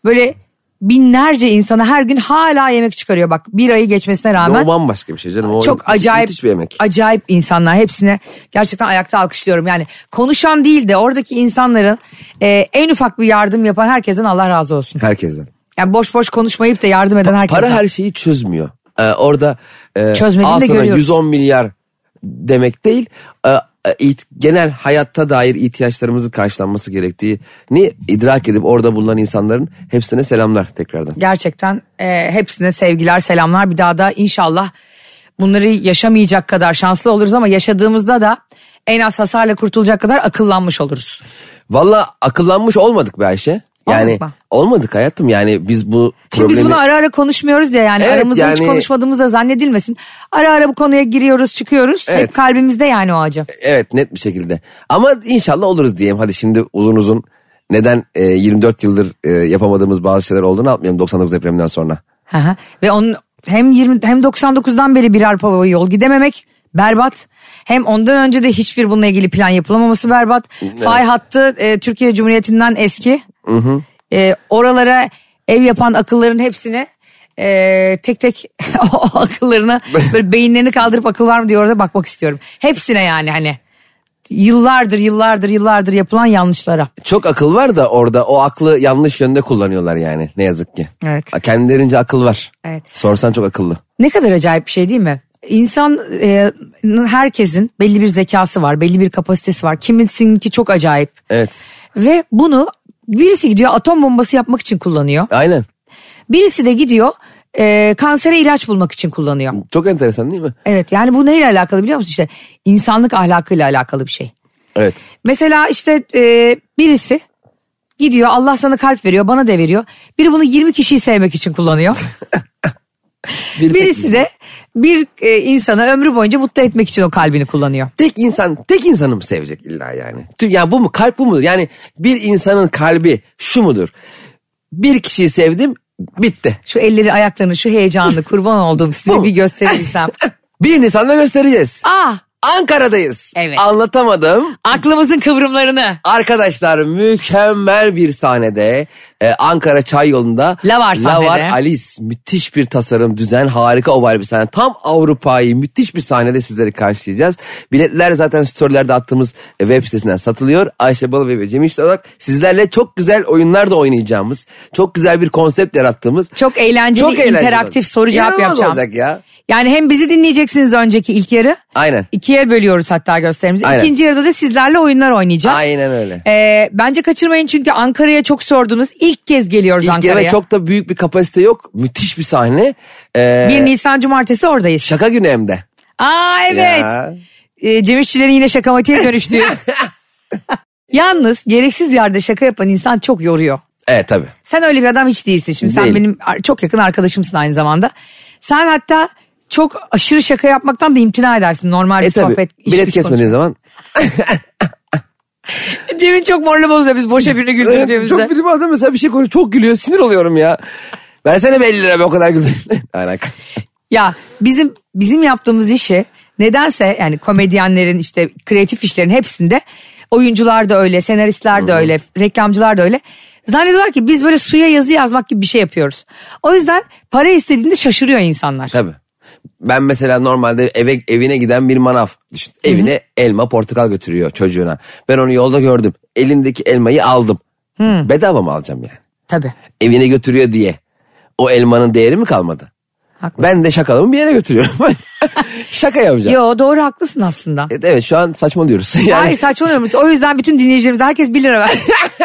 böyle binlerce insana her gün hala yemek çıkarıyor. Bak bir ayı geçmesine Ama rağmen o bambaşka bir şey canım. O çok müthiş- acayip Müthiş bir yemek. acayip insanlar hepsine gerçekten ayakta alkışlıyorum. Yani konuşan değil de oradaki insanların e, en ufak bir yardım yapan herkesten Allah razı olsun. Herkesten. Yani boş boş konuşmayıp da yardım eden herkese. Para her şeyi çözmüyor. Ee, orada e, Çözmediğini al de sana görüyoruz. 110 milyar demek değil. e, e, it- genel hayatta dair ihtiyaçlarımızın karşılanması gerektiğini idrak edip orada bulunan insanların hepsine selamlar tekrardan. Gerçekten e, hepsine sevgiler, selamlar. Bir daha da inşallah bunları yaşamayacak kadar şanslı oluruz ama yaşadığımızda da en az hasarla kurtulacak kadar akıllanmış oluruz. Valla akıllanmış olmadık be Ayşe. Yani Olmadık mı? olmadık hayatım yani biz bu Şimdi problemi... biz bunu ara ara konuşmuyoruz ya yani Evet, aramızda hiç yani- konuşmadığımız da zannedilmesin. Ara ara bu konuya giriyoruz, çıkıyoruz. Hep Evet. kalbimizde yani o acı. Evet net bir şekilde. Ama inşallah oluruz diyeyim. Hadi şimdi uzun uzun neden e, 24 yıldır e, yapamadığımız bazı şeyler olduğunu atmayalım 99 depreminden sonra. Hı hı. Ve onun hem 20 hem 99'dan beri birer arpa yol gidememek berbat. Hem ondan önce de hiçbir bununla ilgili plan yapılamaması berbat. Fay hattı e, Türkiye Cumhuriyeti'nden eski. E, oralara ev yapan akılların hepsini e, tek tek <laughs> o akıllarını böyle beyinlerini kaldırıp akıl var mı diye orada bakmak istiyorum. Hepsine yani hani yıllardır yıllardır yıllardır yapılan yanlışlara. Çok akıl var da orada o aklı yanlış yönde kullanıyorlar yani ne yazık ki. Evet. A, Kendilerince akıl var. Evet. Sorsan çok akıllı. Ne kadar acayip bir şey değil mi? İnsan e, herkesin belli bir zekası var, belli bir kapasitesi var. Kimisininki çok acayip. Evet. Ve bunu birisi gidiyor atom bombası yapmak için kullanıyor. Aynen. Birisi de gidiyor e, kansere ilaç bulmak için kullanıyor. Çok enteresan değil mi? Evet yani bu neyle alakalı biliyor musun? İşte insanlık ahlakıyla alakalı bir şey. Evet. Mesela işte e, birisi gidiyor Allah sana kalp veriyor bana da veriyor. Biri bunu 20 kişiyi sevmek için kullanıyor. Bir Birisi tek, de bir e, insana ömrü boyunca mutlu etmek için o kalbini kullanıyor. tek insan tek insanı mı sevecek illa yani? Tü- Ya bu mu kalp bu mudur? Yani bir insanın kalbi şu mudur? Bir kişiyi sevdim bitti. Şu elleri <laughs> ayaklarını şu heyecanını kurban olduğum size Bu. <laughs> bir gösterebilsem. Ah, Bir Nisan'da göstereceğiz. Aa Ankara'dayız. Evet. Anlatamadım. Aklımızın kıvrımlarını. Arkadaşlar mükemmel bir sahnede e, Ankara Çay Yolu'nda Lavar sahnede. Lavar Alice müthiş bir tasarım düzen harika oval bir sahne tam Avrupa'yı müthiş bir sahnede sizleri karşılayacağız. Biletler zaten storylerde attığımız e, web sitesinden satılıyor. Ayşe Balı ve Cem İşte olarak sizlerle çok güzel oyunlar da oynayacağımız çok güzel bir konsept yarattığımız Çok eğlenceli, eğlenceli interaktif olacak. soru cevap İnanılmaz yapacağım. olacak ya. Yani hem bizi dinleyeceksiniz önceki ilk yarı. Aynen. İkiye bölüyoruz hatta gösterimizi. Aynen. İkinci yarıda da sizlerle oyunlar oynayacağız. Aynen öyle. Ee, bence kaçırmayın çünkü Ankara'ya çok sordunuz. İlk kez geliyoruz İlk Ankara'ya. eve çok da büyük bir kapasite yok. Müthiş bir sahne. Ee, 1 Nisan Cumartesi oradayız. şaka günü hem de. Aa Ya. evet. Ee, Cem İşçilerin yine şaka matiğe dönüştüğü. <laughs> Yalnız gereksiz yerde şaka yapan insan çok yoruyor. Evet tabii. E, Sen öyle bir adam hiç değilsin şimdi. Sen Değil. benim ar- çok yakın arkadaşımsın aynı zamanda. Sen hatta çok aşırı şaka yapmaktan da imtina edersin normal bir E tabii sohbet. iş bilet güç kesmediğin zaman. <laughs> konuş- Cem'in çok morlu bozuyor biz boşa birini güldürdüğümüzde. çok biri bazen mesela bir şey konuşuyor çok gülüyor sinir oluyorum ya. Versene be 50 lira be o kadar güldüm. <laughs> Alaka. Ya bizim bizim yaptığımız işi nedense yani komedyenlerin işte kreatif işlerin hepsinde oyuncular da öyle, senaristler de öyle, reklamcılar da öyle. Zannediyorlar ki biz böyle suya yazı yazmak gibi bir şey yapıyoruz. O yüzden para istediğinde şaşırıyor insanlar. Tabii. Ben mesela normalde eve evine giden bir manav düşün. Evine elma portakal götürüyor çocuğuna. Ben onu yolda gördüm. Elindeki elmayı aldım. Bedava mı alacağım yani? Tabii. Evine götürüyor diye. O elmanın değeri mi kalmadı? Haklı. Ben de şakalımı bir yere götürüyorum. <laughs> Şaka yapacağım. Yo doğru haklısın aslında. Evet, Evet şu an saçmalıyoruz. <laughs> Yani... Hayır saçmalıyorum. O yüzden bütün dinleyicilerimiz herkes 1 lira ver.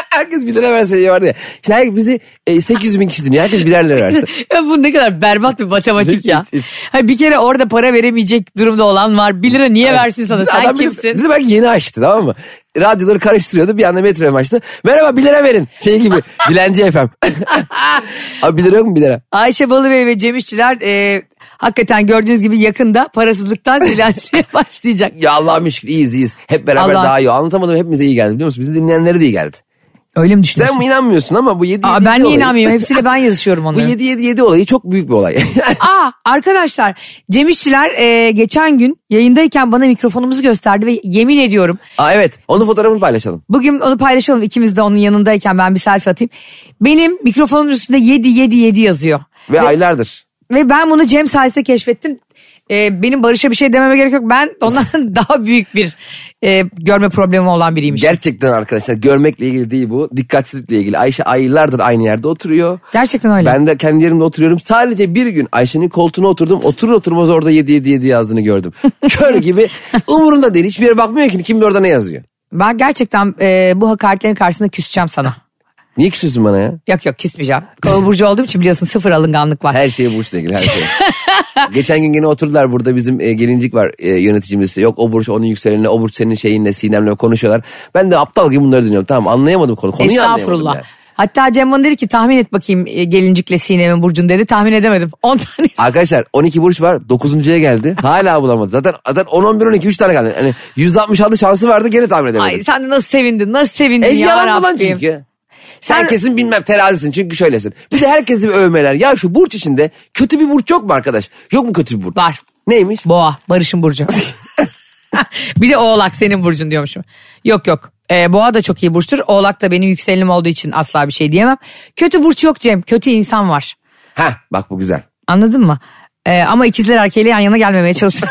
herkes bir lira verse iyi vardı ya. Şimdi herkes bizi e, 800 bin kişi dinliyor. Herkes birer lira verse. <laughs> Ya Bu ne kadar berbat bir matematik Hiç, ya. hiç, hiç. Hayır, bir kere orada para veremeyecek durumda olan var. 1 lira niye <laughs> versin sana? Bizi Sen adam bile- kimsin? bizi belki yeni açtı tamam mı? Radyoları karıştırıyordu. Bir anda metroya açtı. Merhaba bir lira verin. <laughs> Şey gibi. Dilenci FM. Abi bir lira yok mu bir lira? Ayşe Balıbey ve Cem İşçiler e, hakikaten gördüğünüz gibi yakında parasızlıktan <laughs> dilenciye başlayacak. Ya Allah'ım şükür iyiyiz iyiyiz. Hep beraber Allah. daha iyi. Anlatamadım hepimize iyi geldi biliyor musun? Bizi dinleyenlere de iyi geldi. Öyle mi düşünüyorsun? Sen inanmıyorsun ama bu 7 Aa, 7 ben niye olayı, inanmıyorum? Hepsiyle ben <laughs> yazışıyorum Bu onları. 7 7 7 olayı çok büyük bir olay. <laughs> Aa arkadaşlar Cem İşçiler e, geçen gün yayındayken bana mikrofonumuzu gösterdi ve yemin ediyorum Aa, evet onun fotoğrafını paylaşalım. Bugün onu paylaşalım ikimiz de onun yanındayken ben bir selfie atayım. Benim mikrofonun üstünde 7 7 7 yazıyor. Ve aylardır. Ve ben bunu Cem sayesinde keşfettim. Ee, benim Barış'a bir şey dememe gerek yok. Ben ondan <laughs> daha büyük bir e, görme problemi olan biriymiş. Gerçekten arkadaşlar görmekle ilgili değil bu. Dikkatsizlikle ilgili. Ayşe aylardır aynı yerde oturuyor. Gerçekten öyle. Ben de kendi yerimde oturuyorum. Sadece bir gün Ayşe'nin koltuğuna oturdum. Oturur oturmaz orada 7 7 7 yazdığını gördüm. Kör gibi umurunda değil. Hiçbir yere bakmıyor ki kim de orada ne yazıyor. Ben gerçekten e, bu hakaretlerin karşısında küseceğim sana. Niye küsüyorsun bana ya? Yok yok küsmeyeceğim. Kova burcu olduğum için biliyorsun sıfır alınganlık var. Her şey burçla ilgili her şey. Geçen gün gene oturdular burada bizim e, gelincik var e, yöneticimiz. Yok o burç onun yükselenine o burç senin şeyinle Sinem'le konuşuyorlar. Ben de aptal gibi bunları dinliyorum. Tamam anlayamadım konu. Konuyu anlayamadım Estağfurullah. yani. Hatta Cem bana dedi ki tahmin et bakayım e, gelincikle Sinem'in burcunu dedi. Tahmin edemedim. <laughs> 10 tane Arkadaşlar 12 burç var. 9.ya geldi. Hala bulamadı. Zaten zaten 10 11 12 3 tane kaldı. Hani 166 şansı vardı gene tahmin edemedim. Ay sen de nasıl sevindin? Nasıl sevindin E ya yalan Rabbim. dolan çünkü. Sen, Sen- kesin bilmem terazisin çünkü şöylesin. Bir de herkesi bir övmeler. Ya şu burç içinde kötü bir burç yok mu arkadaş? Yok mu kötü bir burç? Var. Neymiş? Boğa. Barış'ın burcu. <laughs> bir de oğlak senin burcun diyormuşum. Yok yok. Ee, boğa da çok iyi burçtur. Oğlak da benim yükselenim olduğu için asla bir şey diyemem. Kötü burç yok Cem. Kötü insan var. Ha bak bu güzel. Anladın mı? Ee, ama ikizler erkeğiyle yan yana gelmemeye çalışın.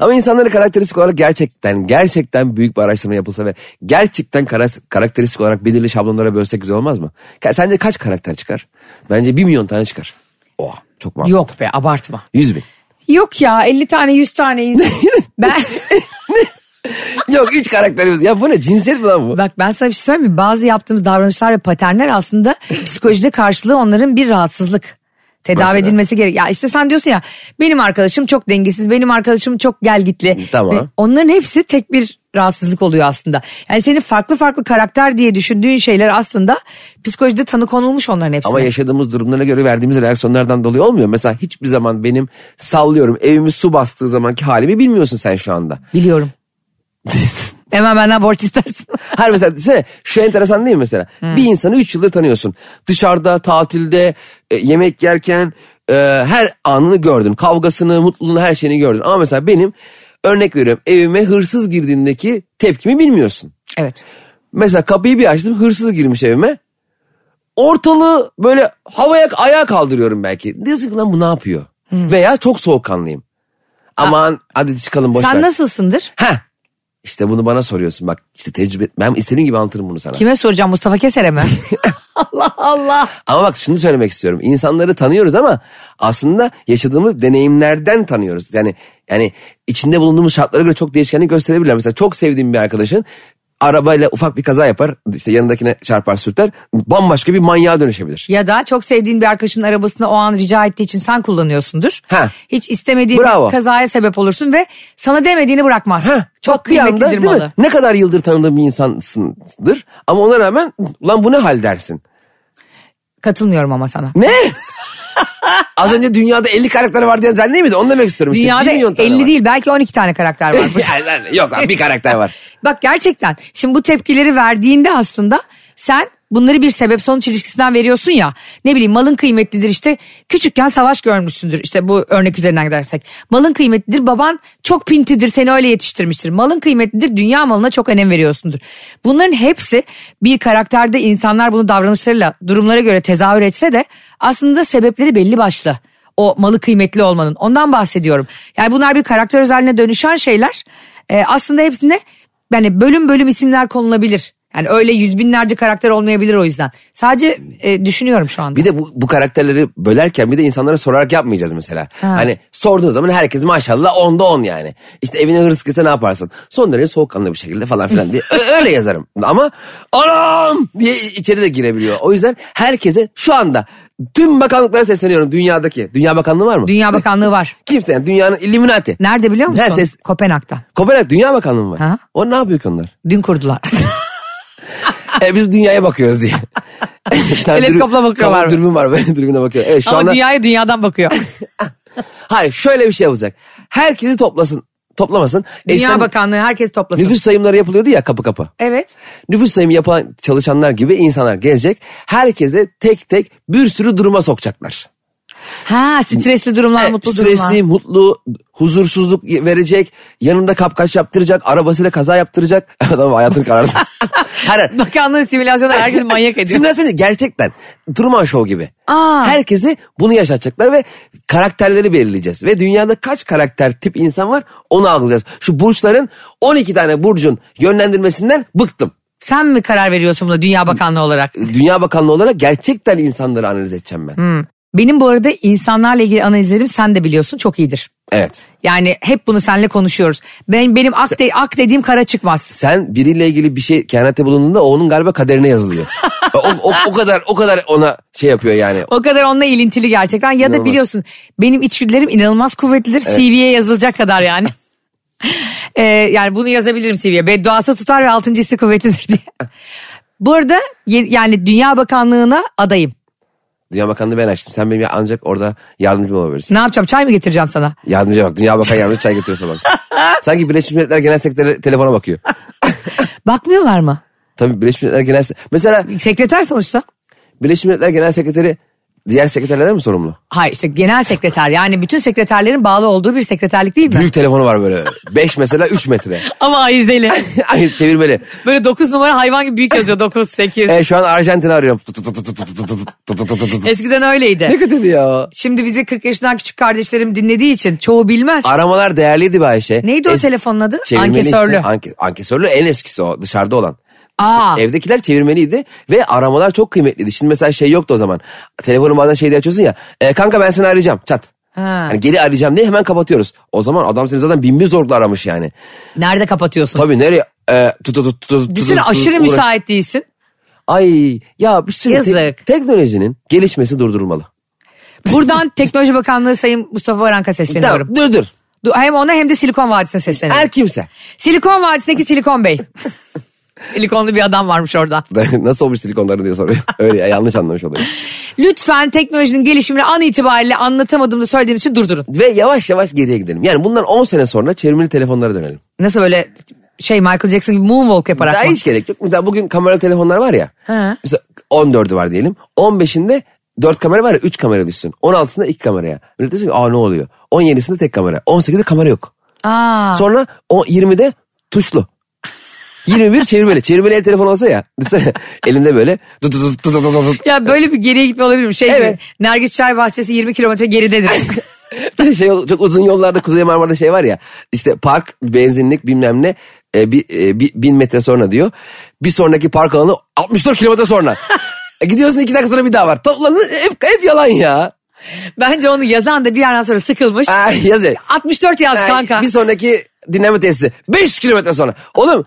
Ama insanların karakteristik olarak gerçekten gerçekten büyük bir araştırma yapılsa ve gerçekten kara- karakteristik olarak belirli şablonlara bölsek güzel olmaz mı? Ka- Sence kaç karakter çıkar? Bence 1 milyon tane çıkar. Oha çok <laughs> mantıklı. yok be abartma. 100 bin. Yok ya 50 tane 100 tane <laughs> insan. ben, yok 3 karakterimiz. Ya bu ne cinsiyet mi lan bu? bak ben sana bir şey söyleyeyim mi? Bazı yaptığımız davranışlar ve paternler <laughs> aslında psikolojide karşılığı onların bir rahatsızlık. Tedavi Mesela? edilmesi gerek. Ya işte sen diyorsun ya benim arkadaşım çok dengesiz, benim arkadaşım çok gelgitli. Tamam. Ve onların hepsi tek bir rahatsızlık oluyor aslında. Yani senin farklı farklı karakter diye düşündüğün şeyler aslında psikolojide tanı konulmuş onların hepsine. Ama yaşadığımız durumlara göre verdiğimiz reaksiyonlardan dolayı olmuyor. Mesela hiçbir zaman benim sallıyorum evimi su bastığı zamanki halimi bilmiyorsun sen şu anda. <laughs> Biliyorum. Hemen benden borç istersin. Her mesela düşünsene şu enteresan değil mi mesela? Bir insanı 3 yıldır tanıyorsun. Dışarıda, tatilde, e, yemek yerken e, her anını gördün. Kavgasını, mutluluğunu, her şeyini gördün. Ama mesela benim Örnek veriyorum evime hırsız girdiğindeki tepkimi bilmiyorsun. Evet. Mesela kapıyı bir açtım hırsız girmiş evime. Ortalığı böyle havaya ayağa kaldırıyorum belki. Diyorsun ki lan bu ne yapıyor? Veya çok soğukkanlıyım. Aman hadi çıkalım boş Sen ver. nasılsındır? Heh. İşte bunu bana soruyorsun bak işte tecrübe ben istediğin gibi anlatırım bunu sana. Kime soracağım Mustafa Keser'e <laughs> mi? <laughs> Allah Allah. Ama bak şunu söylemek istiyorum. İnsanları tanıyoruz ama aslında yaşadığımız deneyimlerden tanıyoruz. Yani yani içinde bulunduğumuz şartlara göre çok değişkenlik gösterebilirler. Mesela çok sevdiğim bir arkadaşın arabayla ufak bir kaza yapar. işte yanındakine çarpar sürter. Bambaşka bir manyağa dönüşebilir. Ya da çok sevdiğin bir arkadaşının arabasını o an rica ettiği için sen kullanıyorsundur. Ha. Hiç istemediğin Bravo. bir kazaya sebep olursun ve sana demediğini bırakmaz. Heh, çok bak bir anda, kıymetlidir değil mi? malı. Ne kadar yıldır tanıdığım bir insansındır ama ona rağmen lan bu ne hal dersin. Katılmıyorum ama sana. <laughs> Ne? Az önce dünyada 50 karakter var diye sen değil miydin? Onu demek istiyorum. işte. Dünyada Bir milyon 50 tane var. değil belki 12 tane karakter <laughs> varmış. Yani lan, Yok lan bir karakter var. Bak gerçekten şimdi bu tepkileri verdiğinde aslında sen bunları bir sebep sonuç ilişkisinden veriyorsun ya. Ne bileyim malın kıymetlidir işte küçükken savaş görmüşsündür işte bu örnek üzerinden gidersek. Malın kıymetlidir baban çok pintidir seni öyle yetiştirmiştir. Malın kıymetlidir dünya malına çok önem veriyorsundur. Bunların hepsi bir karakterde insanlar bunu davranışlarıyla durumlara göre tezahür etse de aslında sebepleri belli başlı. O malı kıymetli olmanın ondan bahsediyorum. Yani bunlar bir karakter özelliğine dönüşen şeyler Ee, aslında hepsinde yani bölüm bölüm isimler konulabilir. Yani öyle yüz binlerce karakter olmayabilir o yüzden. Sadece e, düşünüyorum şu anda. Bir de bu, bu karakterleri bölerken bir de insanlara sorarak yapmayacağız mesela. Ha. Hani sorduğun zaman herkes maşallah onda on yani. İşte evine hırsız girse ne yaparsın? Son derece soğukkanlı bir şekilde falan filan diye Ö- öyle yazarım. Ama anam diye içeri de girebiliyor. O yüzden herkese şu anda tüm bakanlıklara sesleniyorum dünyadaki. Dünya Bakanlığı var mı? Dünya Bakanlığı var. Kimse yani dünyanın Illuminati. Nerede biliyor musun? Ha, ses- Kopenhag'da. Kopenhag Dünya Bakanlığı mı var? Ha. O ne yapıyor ki onlar? Dün kurdular. E, biz dünyaya <laughs> bakıyoruz diye. <laughs> Bir tane Teleskopla dürbün- bakıyorlar kapalı mı? Dürbün var böyle dürbüne bakıyor. Evet, şu anda dünyaya dünyadan bakıyor. Hayır şöyle bir şey olacak. Herkesi toplasın. Toplamasın. <laughs> Dünya Eskiden Bakanlığı herkes toplasın. Nüfus sayımları yapılıyordu ya kapı kapı. Evet. Nüfus sayımı yapan çalışanlar gibi insanlar gelecek. Herkese tek tek bir sürü duruma sokacaklar. E, Ha stresli durumlar, mutlu Stresli, durumlar. mutlu, huzursuzluk verecek. Yanında kapkaç yaptıracak. Arabasıyla kaza yaptıracak. <laughs> Adam <laughs> hayatını karardı. Her, her- Bakanlığın simülasyonu herkes manyak Simülasyon değil, gerçekten. Truman Show gibi. Aa. Herkese bunu yaşatacaklar ve karakterleri belirleyeceğiz. Ve dünyada kaç karakter tip insan var onu algılayacağız. Şu burçların 12 tane burcun yönlendirmesinden bıktım. Sen mi karar veriyorsun buna Dünya Bakanlığı olarak? Dünya Bakanlığı olarak gerçekten insanları analiz edeceğim ben. Benim bu arada insanlarla ilgili analizlerim sen de biliyorsun çok iyidir. Evet. Yani hep bunu seninle konuşuyoruz. Ben benim ak, de- ak dediğim kara çıkmaz. Sen biriyle ilgili bir şey kehanette bulunduğunda o onun galiba kaderine yazılıyor. o, o, o kadar o kadar ona şey yapıyor yani. O kadar onunla ilintili gerçekten. Ya da İnanılmaz. biliyorsun benim içgüdülerim inanılmaz kuvvetlidir. CV'ye yazılacak kadar yani. <laughs> Ee, yani bunu yazabilirim CV'ye. Bedduası tutar ve altıncı hissi kuvvetlidir diye. <laughs> Bu arada ye- yani Dünya Bakanlığı'na adayım. Dünya Bakanlığı ben açtım. Sen benim ancak orada yardımcı olabilirsin. Ne yapacağım çay mı getireceğim sana? Yardımcıya bak. Dünya Bakan yardımcı çay getiriyorsa bak. <laughs> Sanki Birleşmiş Milletler Genel Sekreteri telefona bakıyor. Bakmıyorlar mı? Tabii Birleşmiş Milletler Genel Se- Mesela Sekreter sonuçta. Birleşmiş Milletler Genel Sekreteri diğer sekreterlerden mi sorumlu? Hayır işte genel sekreter yani bütün sekreterlerin bağlı olduğu bir sekreterlik değil mi? Büyük telefonu var böyle. 5 mesela <laughs> 3 metre. Ama ayizeli. Ay çevirmeli. Böyle 9 numara hayvan gibi büyük yazıyor 9 8. E, şu an Arjantin'i arıyorum. Tut tut tut tut tut tut tut tut tut tut tut tut. Eskiden öyleydi. Ne kötüydü ya. Şimdi bizi 40 yaşından küçük kardeşlerim dinlediği için çoğu bilmez. Aramalar değerliydi be Ayşe. Neydi o Es- telefonun adı? Çevirmeli Ankesörlü. e, Işte, anke- ankesörlü en eskisi o dışarıda olan. Aa. Evdekiler çevirmeliydi ve aramalar çok kıymetliydi. Şimdi mesela şey yoktu o zaman. Telefonu bazen şeyde açıyorsun ya. "E, kanka ben seni arayacağım çat. Ha. Hani geri arayacağım diye hemen kapatıyoruz. O zaman adam seni zaten bin bir zorla aramış yani. Nerede kapatıyorsun? Tabii nereye? E, tut tut tut tut tut Düşünsene tut- aşırı uğraş- müsait değilsin. Ay ya bir sürü te- Yazık. teknolojinin gelişmesi durdurulmalı. <laughs> Buradan Teknoloji Bakanlığı Sayın Mustafa Varank'a sesleniyorum. Tamam, dur dur. Du- Hem ona hem de Silikon Vadisi'ne sesleniyorum. Her kimse. <laughs> Silikon Vadisi'ndeki Silikon Bey. Silikonlu bir adam varmış orada. Nasıl olmuş silikonların diye soruyor. Öyle ya, yanlış anlamış oluyor. Lütfen teknolojinin gelişimini an itibariyle anlatamadığımda söylediğim için durdurun. Ve yavaş yavaş geriye gidelim. Yani bundan 10 sene sonra çevirmeli telefonlara dönelim. Nasıl böyle şey Michael Jackson gibi moonwalk yaparak Daha mı? hiç gerek yok. Mesela bugün kameralı telefonlar var ya. He. Mesela 14'ü var diyelim. 15'inde 4 kamera var ya 3 kamera düşsün. 16'sında 2 kameraya. Millet diyor ki aa ne oluyor? 17'sinde tek kamera. 18'de kamera yok. Aa. Sonra o 20'de tuşlu. 21 çevirmeli. Çevirmeli el telefonu olsa ya. Düşünsene, <laughs> elinde böyle. Tut tut tut tut tut tut. Ya böyle bir geriye gitme olabilir mi? Şey Evet. gibi, Nergis Çay Bahçesi 20 kilometre <laughs> geridedir. Bir de şey çok uzun yollarda Kuzey Marmara'da şey var ya işte park benzinlik bilmem ne e, bir, e, bi- bin metre sonra diyor. Bir sonraki park alanı 64 kilometre sonra. E, Gidiyorsun iki dakika sonra bir daha var. Toplanın hep, hep yalan ya. Bence onu yazan da bir yerden sonra sıkılmış. Ay, yazıyor. 64 yaz Ay, kanka. Bir sonraki dinleme tesisi 500 kilometre sonra. Oğlum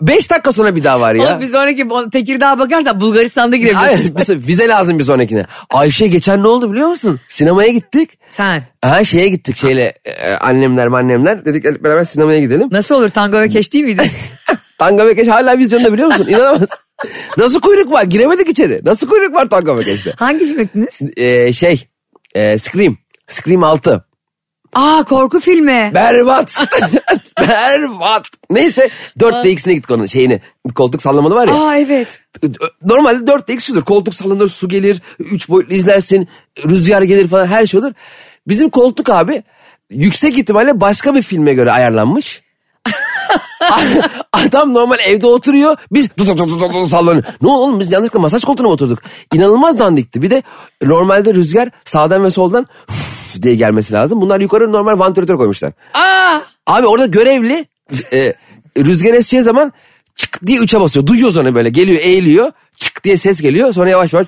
5 dakika sonra bir daha var ya. Oğlum bir sonraki bu- Tekirdağ'a bakarsan Bulgaristan'da Ay, girebilirsin. bir son- vize lazım bir sonrakine. Ayşe geçen ne oldu biliyor musun? Sinemaya gittik. Sen. Ha şeye gittik şeyle e, annemler annemler dedik hep beraber sinemaya gidelim. Nasıl olur tango ve keş değil <laughs> miydi? Tango Bekeş hala vizyonda biliyor musun? İnanamaz. Nasıl kuyruk var? Giremedik içeri. Nasıl kuyruk var Tango Bekeş'te? Hangi filmdiniz? Ee, şey, e, Scream. Scream 6. Aa korku filmi. Berbat. Berbat. Neyse 4DX'ine git konu şeyini. Koltuk sallamalı var ya. Aa evet. Normalde 4DX şudur. Koltuk sallanır, su gelir, 3 boyutlu izlersin, rüzgar gelir falan her şey olur. Bizim koltuk abi yüksek ihtimalle başka bir filme göre ayarlanmış. <laughs> Adam normal evde oturuyor. Biz tut tut tut tut tut sallanıyor. Ne oldu oğlum biz yanlışlıkla masaj koltuğuna mı oturduk? İnanılmaz dandikti. Bir de normalde rüzgar sağdan ve soldan <laughs> "Üf" diye gelmesi lazım. Bunlar yukarı normal vantilatör koymuşlar. Aa Abi orada görevli e, rüzgar eseceği zaman çık diye üçe basıyor. Duyuyoruz onu böyle geliyor eğiliyor çık diye ses geliyor sonra yavaş yavaş.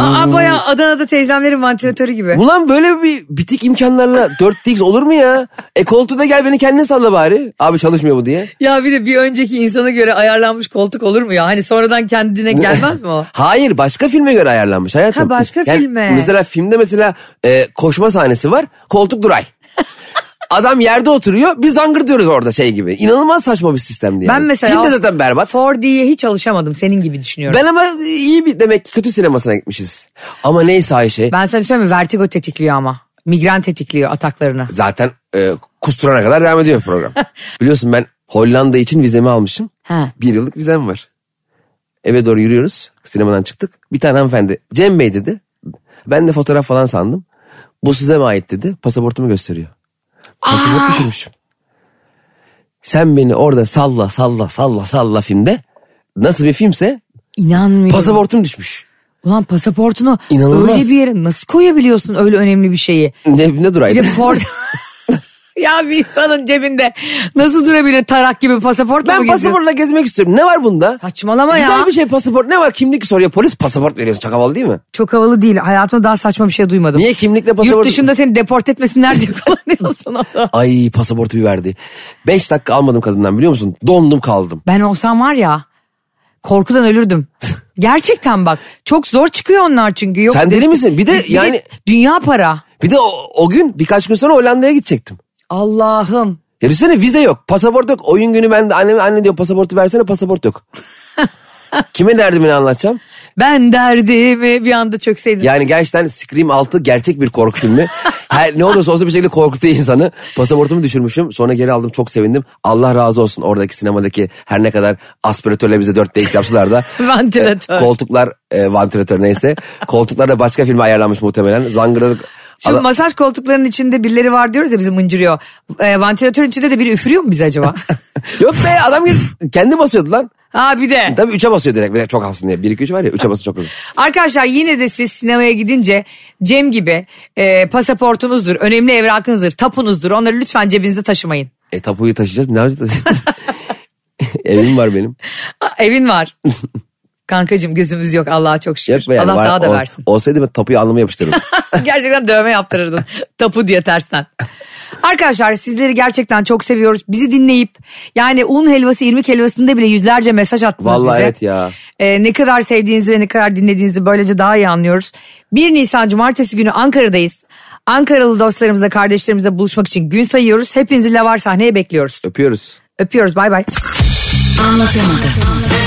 Aa bayağı Adana'da teyzemlerin vantilatörü gibi. Ulan böyle bir bitik imkanlarla 4DX olur mu ya? E koltuğuna gel beni kendin salla bari. Abi çalışmıyor bu diye. Ya bir de bir önceki insana göre ayarlanmış koltuk olur mu ya? Hani sonradan kendine gelmez <laughs> mi o? Hayır başka filme göre ayarlanmış hayatım. Ha, başka filme. Mesela filmde mesela e, koşma sahnesi var koltuk duray. Adam yerde oturuyor biz zangır diyoruz orada şey gibi. İnanılmaz saçma bir sistemdi yani. Ben mesela Film de zaten berbat. 4D'ye hiç alışamadım senin gibi düşünüyorum. Ben ama iyi bir demek ki kötü sinemasına gitmişiz. Ama neyse Ayşe Ben, sana bir şey söyleyeyim mi? Vertigo tetikliyor ama. Migren tetikliyor ataklarını. zaten e, kusturana kadar devam ediyor <laughs> program. Biliyorsun ben Hollanda için vizemi almışım. Ha. Bir yıllık vizem var. Eve doğru yürüyoruz. Sinemadan çıktık. Bir tane hanımefendi Cem Bey dedi. Ben de fotoğraf falan sandım. Bu size mi ait dedi. Pasaportumu gösteriyor. Pasaport düşürmüşüm. Sen beni orada salla salla salla salla filmde. Nasıl bir filmse İnanmıyorum. pasaportum düşmüş. <laughs> Ulan pasaportunu İnanılmaz. öyle bir yere nasıl koyabiliyorsun öyle önemli bir şeyi? Ne, ne Bir de duraydı? <laughs> Ford... ya bir insanın cebinde nasıl durabilir tarak gibi pasaportla mı Ben geziyorsun? pasaportla gezmek istiyorum. Ne var bunda? Saçmalama ya. Güzel bir şey pasaport. Ne var? Kimlik soruyor. Polis pasaport veriyorsun. Çok havalı değil mi? Çok havalı değil. Hayatımda daha saçma bir şey duymadım. Niye kimlikle pasaport? Yurt dışında seni deport <laughs> etmesinler diye kullanıyorsun onu. Ay pasaportu bir verdi. Beş dakika almadım kadından biliyor musun? Dondum kaldım. Ben olsam var ya korkudan <laughs> ölürdüm. Gerçekten bak çok zor çıkıyor onlar çünkü. Yok, Sen deli misin? Bir de yani- dünya para. Bir de o, o gün birkaç gün sonra Hollanda'ya gidecektim. Allah'ım. Ya düşünsene vize yok. Pasaport yok. Oyun günü ben de anneme anne diyor pasaportu versene <laughs> pasaport yok. Kime derdimi anlatacağım? Ben derdimi bir anda çökseydim. Yani gerçekten Scream 6 gerçek bir korku filmi. Her, ne olursa olsun bir şekilde korkutuyor insanı. Pasaportumu düşürmüşüm. Sonra geri aldım çok sevindim. Allah razı olsun oradaki sinemadaki her ne kadar aspiratörle bize 4 dx <laughs> yapsalar da. Vantilatör. e, koltuklar e, vantilatör neyse. Koltuklar da başka filme ayarlanmış muhtemelen. Zangırdadık. Şu Adam- masaj koltuklarının içinde birileri var diyoruz ya bizi mıncırıyor. E, vantilatörün içinde de biri üfürüyor mu bizi <laughs> acaba? <laughs> Yok be adam gelip kendi basıyordu lan. ha bir de. Tabii 3'e basıyor direkt. Bir de çok alsın diye. 1 2 3 var ya 3'e basın çok hızlı. Arkadaşlar yine de siz sinemaya gidince Cem gibi e, pasaportunuzdur, önemli evrakınızdır, tapunuzdur. Onları lütfen cebinizde taşımayın. E tapuyu taşıyacağız. <laughs> Ne yapacağız? Evim var benim. Ha, evin <laughs> var. Kankacığım gözümüz yok Allah'a çok şükür. Yok be yani. Allah var- daha da ol- versin. Olsaydı ben tapuyu <laughs> alnıma yapıştırırdım. Gerçekten dövme yaptırırdın. Tapu diye tersten. Arkadaşlar sizleri gerçekten çok seviyoruz. Bizi dinleyip yani un helvası irmik helvasında bile yüzlerce mesaj attınız Vallahi bize. evet ya. Ee, ne kadar sevdiğinizi ve ne kadar dinlediğinizi böylece daha iyi anlıyoruz. 1 Nisan Cumartesi günü Ankara'dayız. Ankaralı dostlarımızla kardeşlerimizle buluşmak için gün sayıyoruz. Hepinizi lavar sahneye bekliyoruz. Öpüyoruz. Öpüyoruz bay bay. Anlatamadım.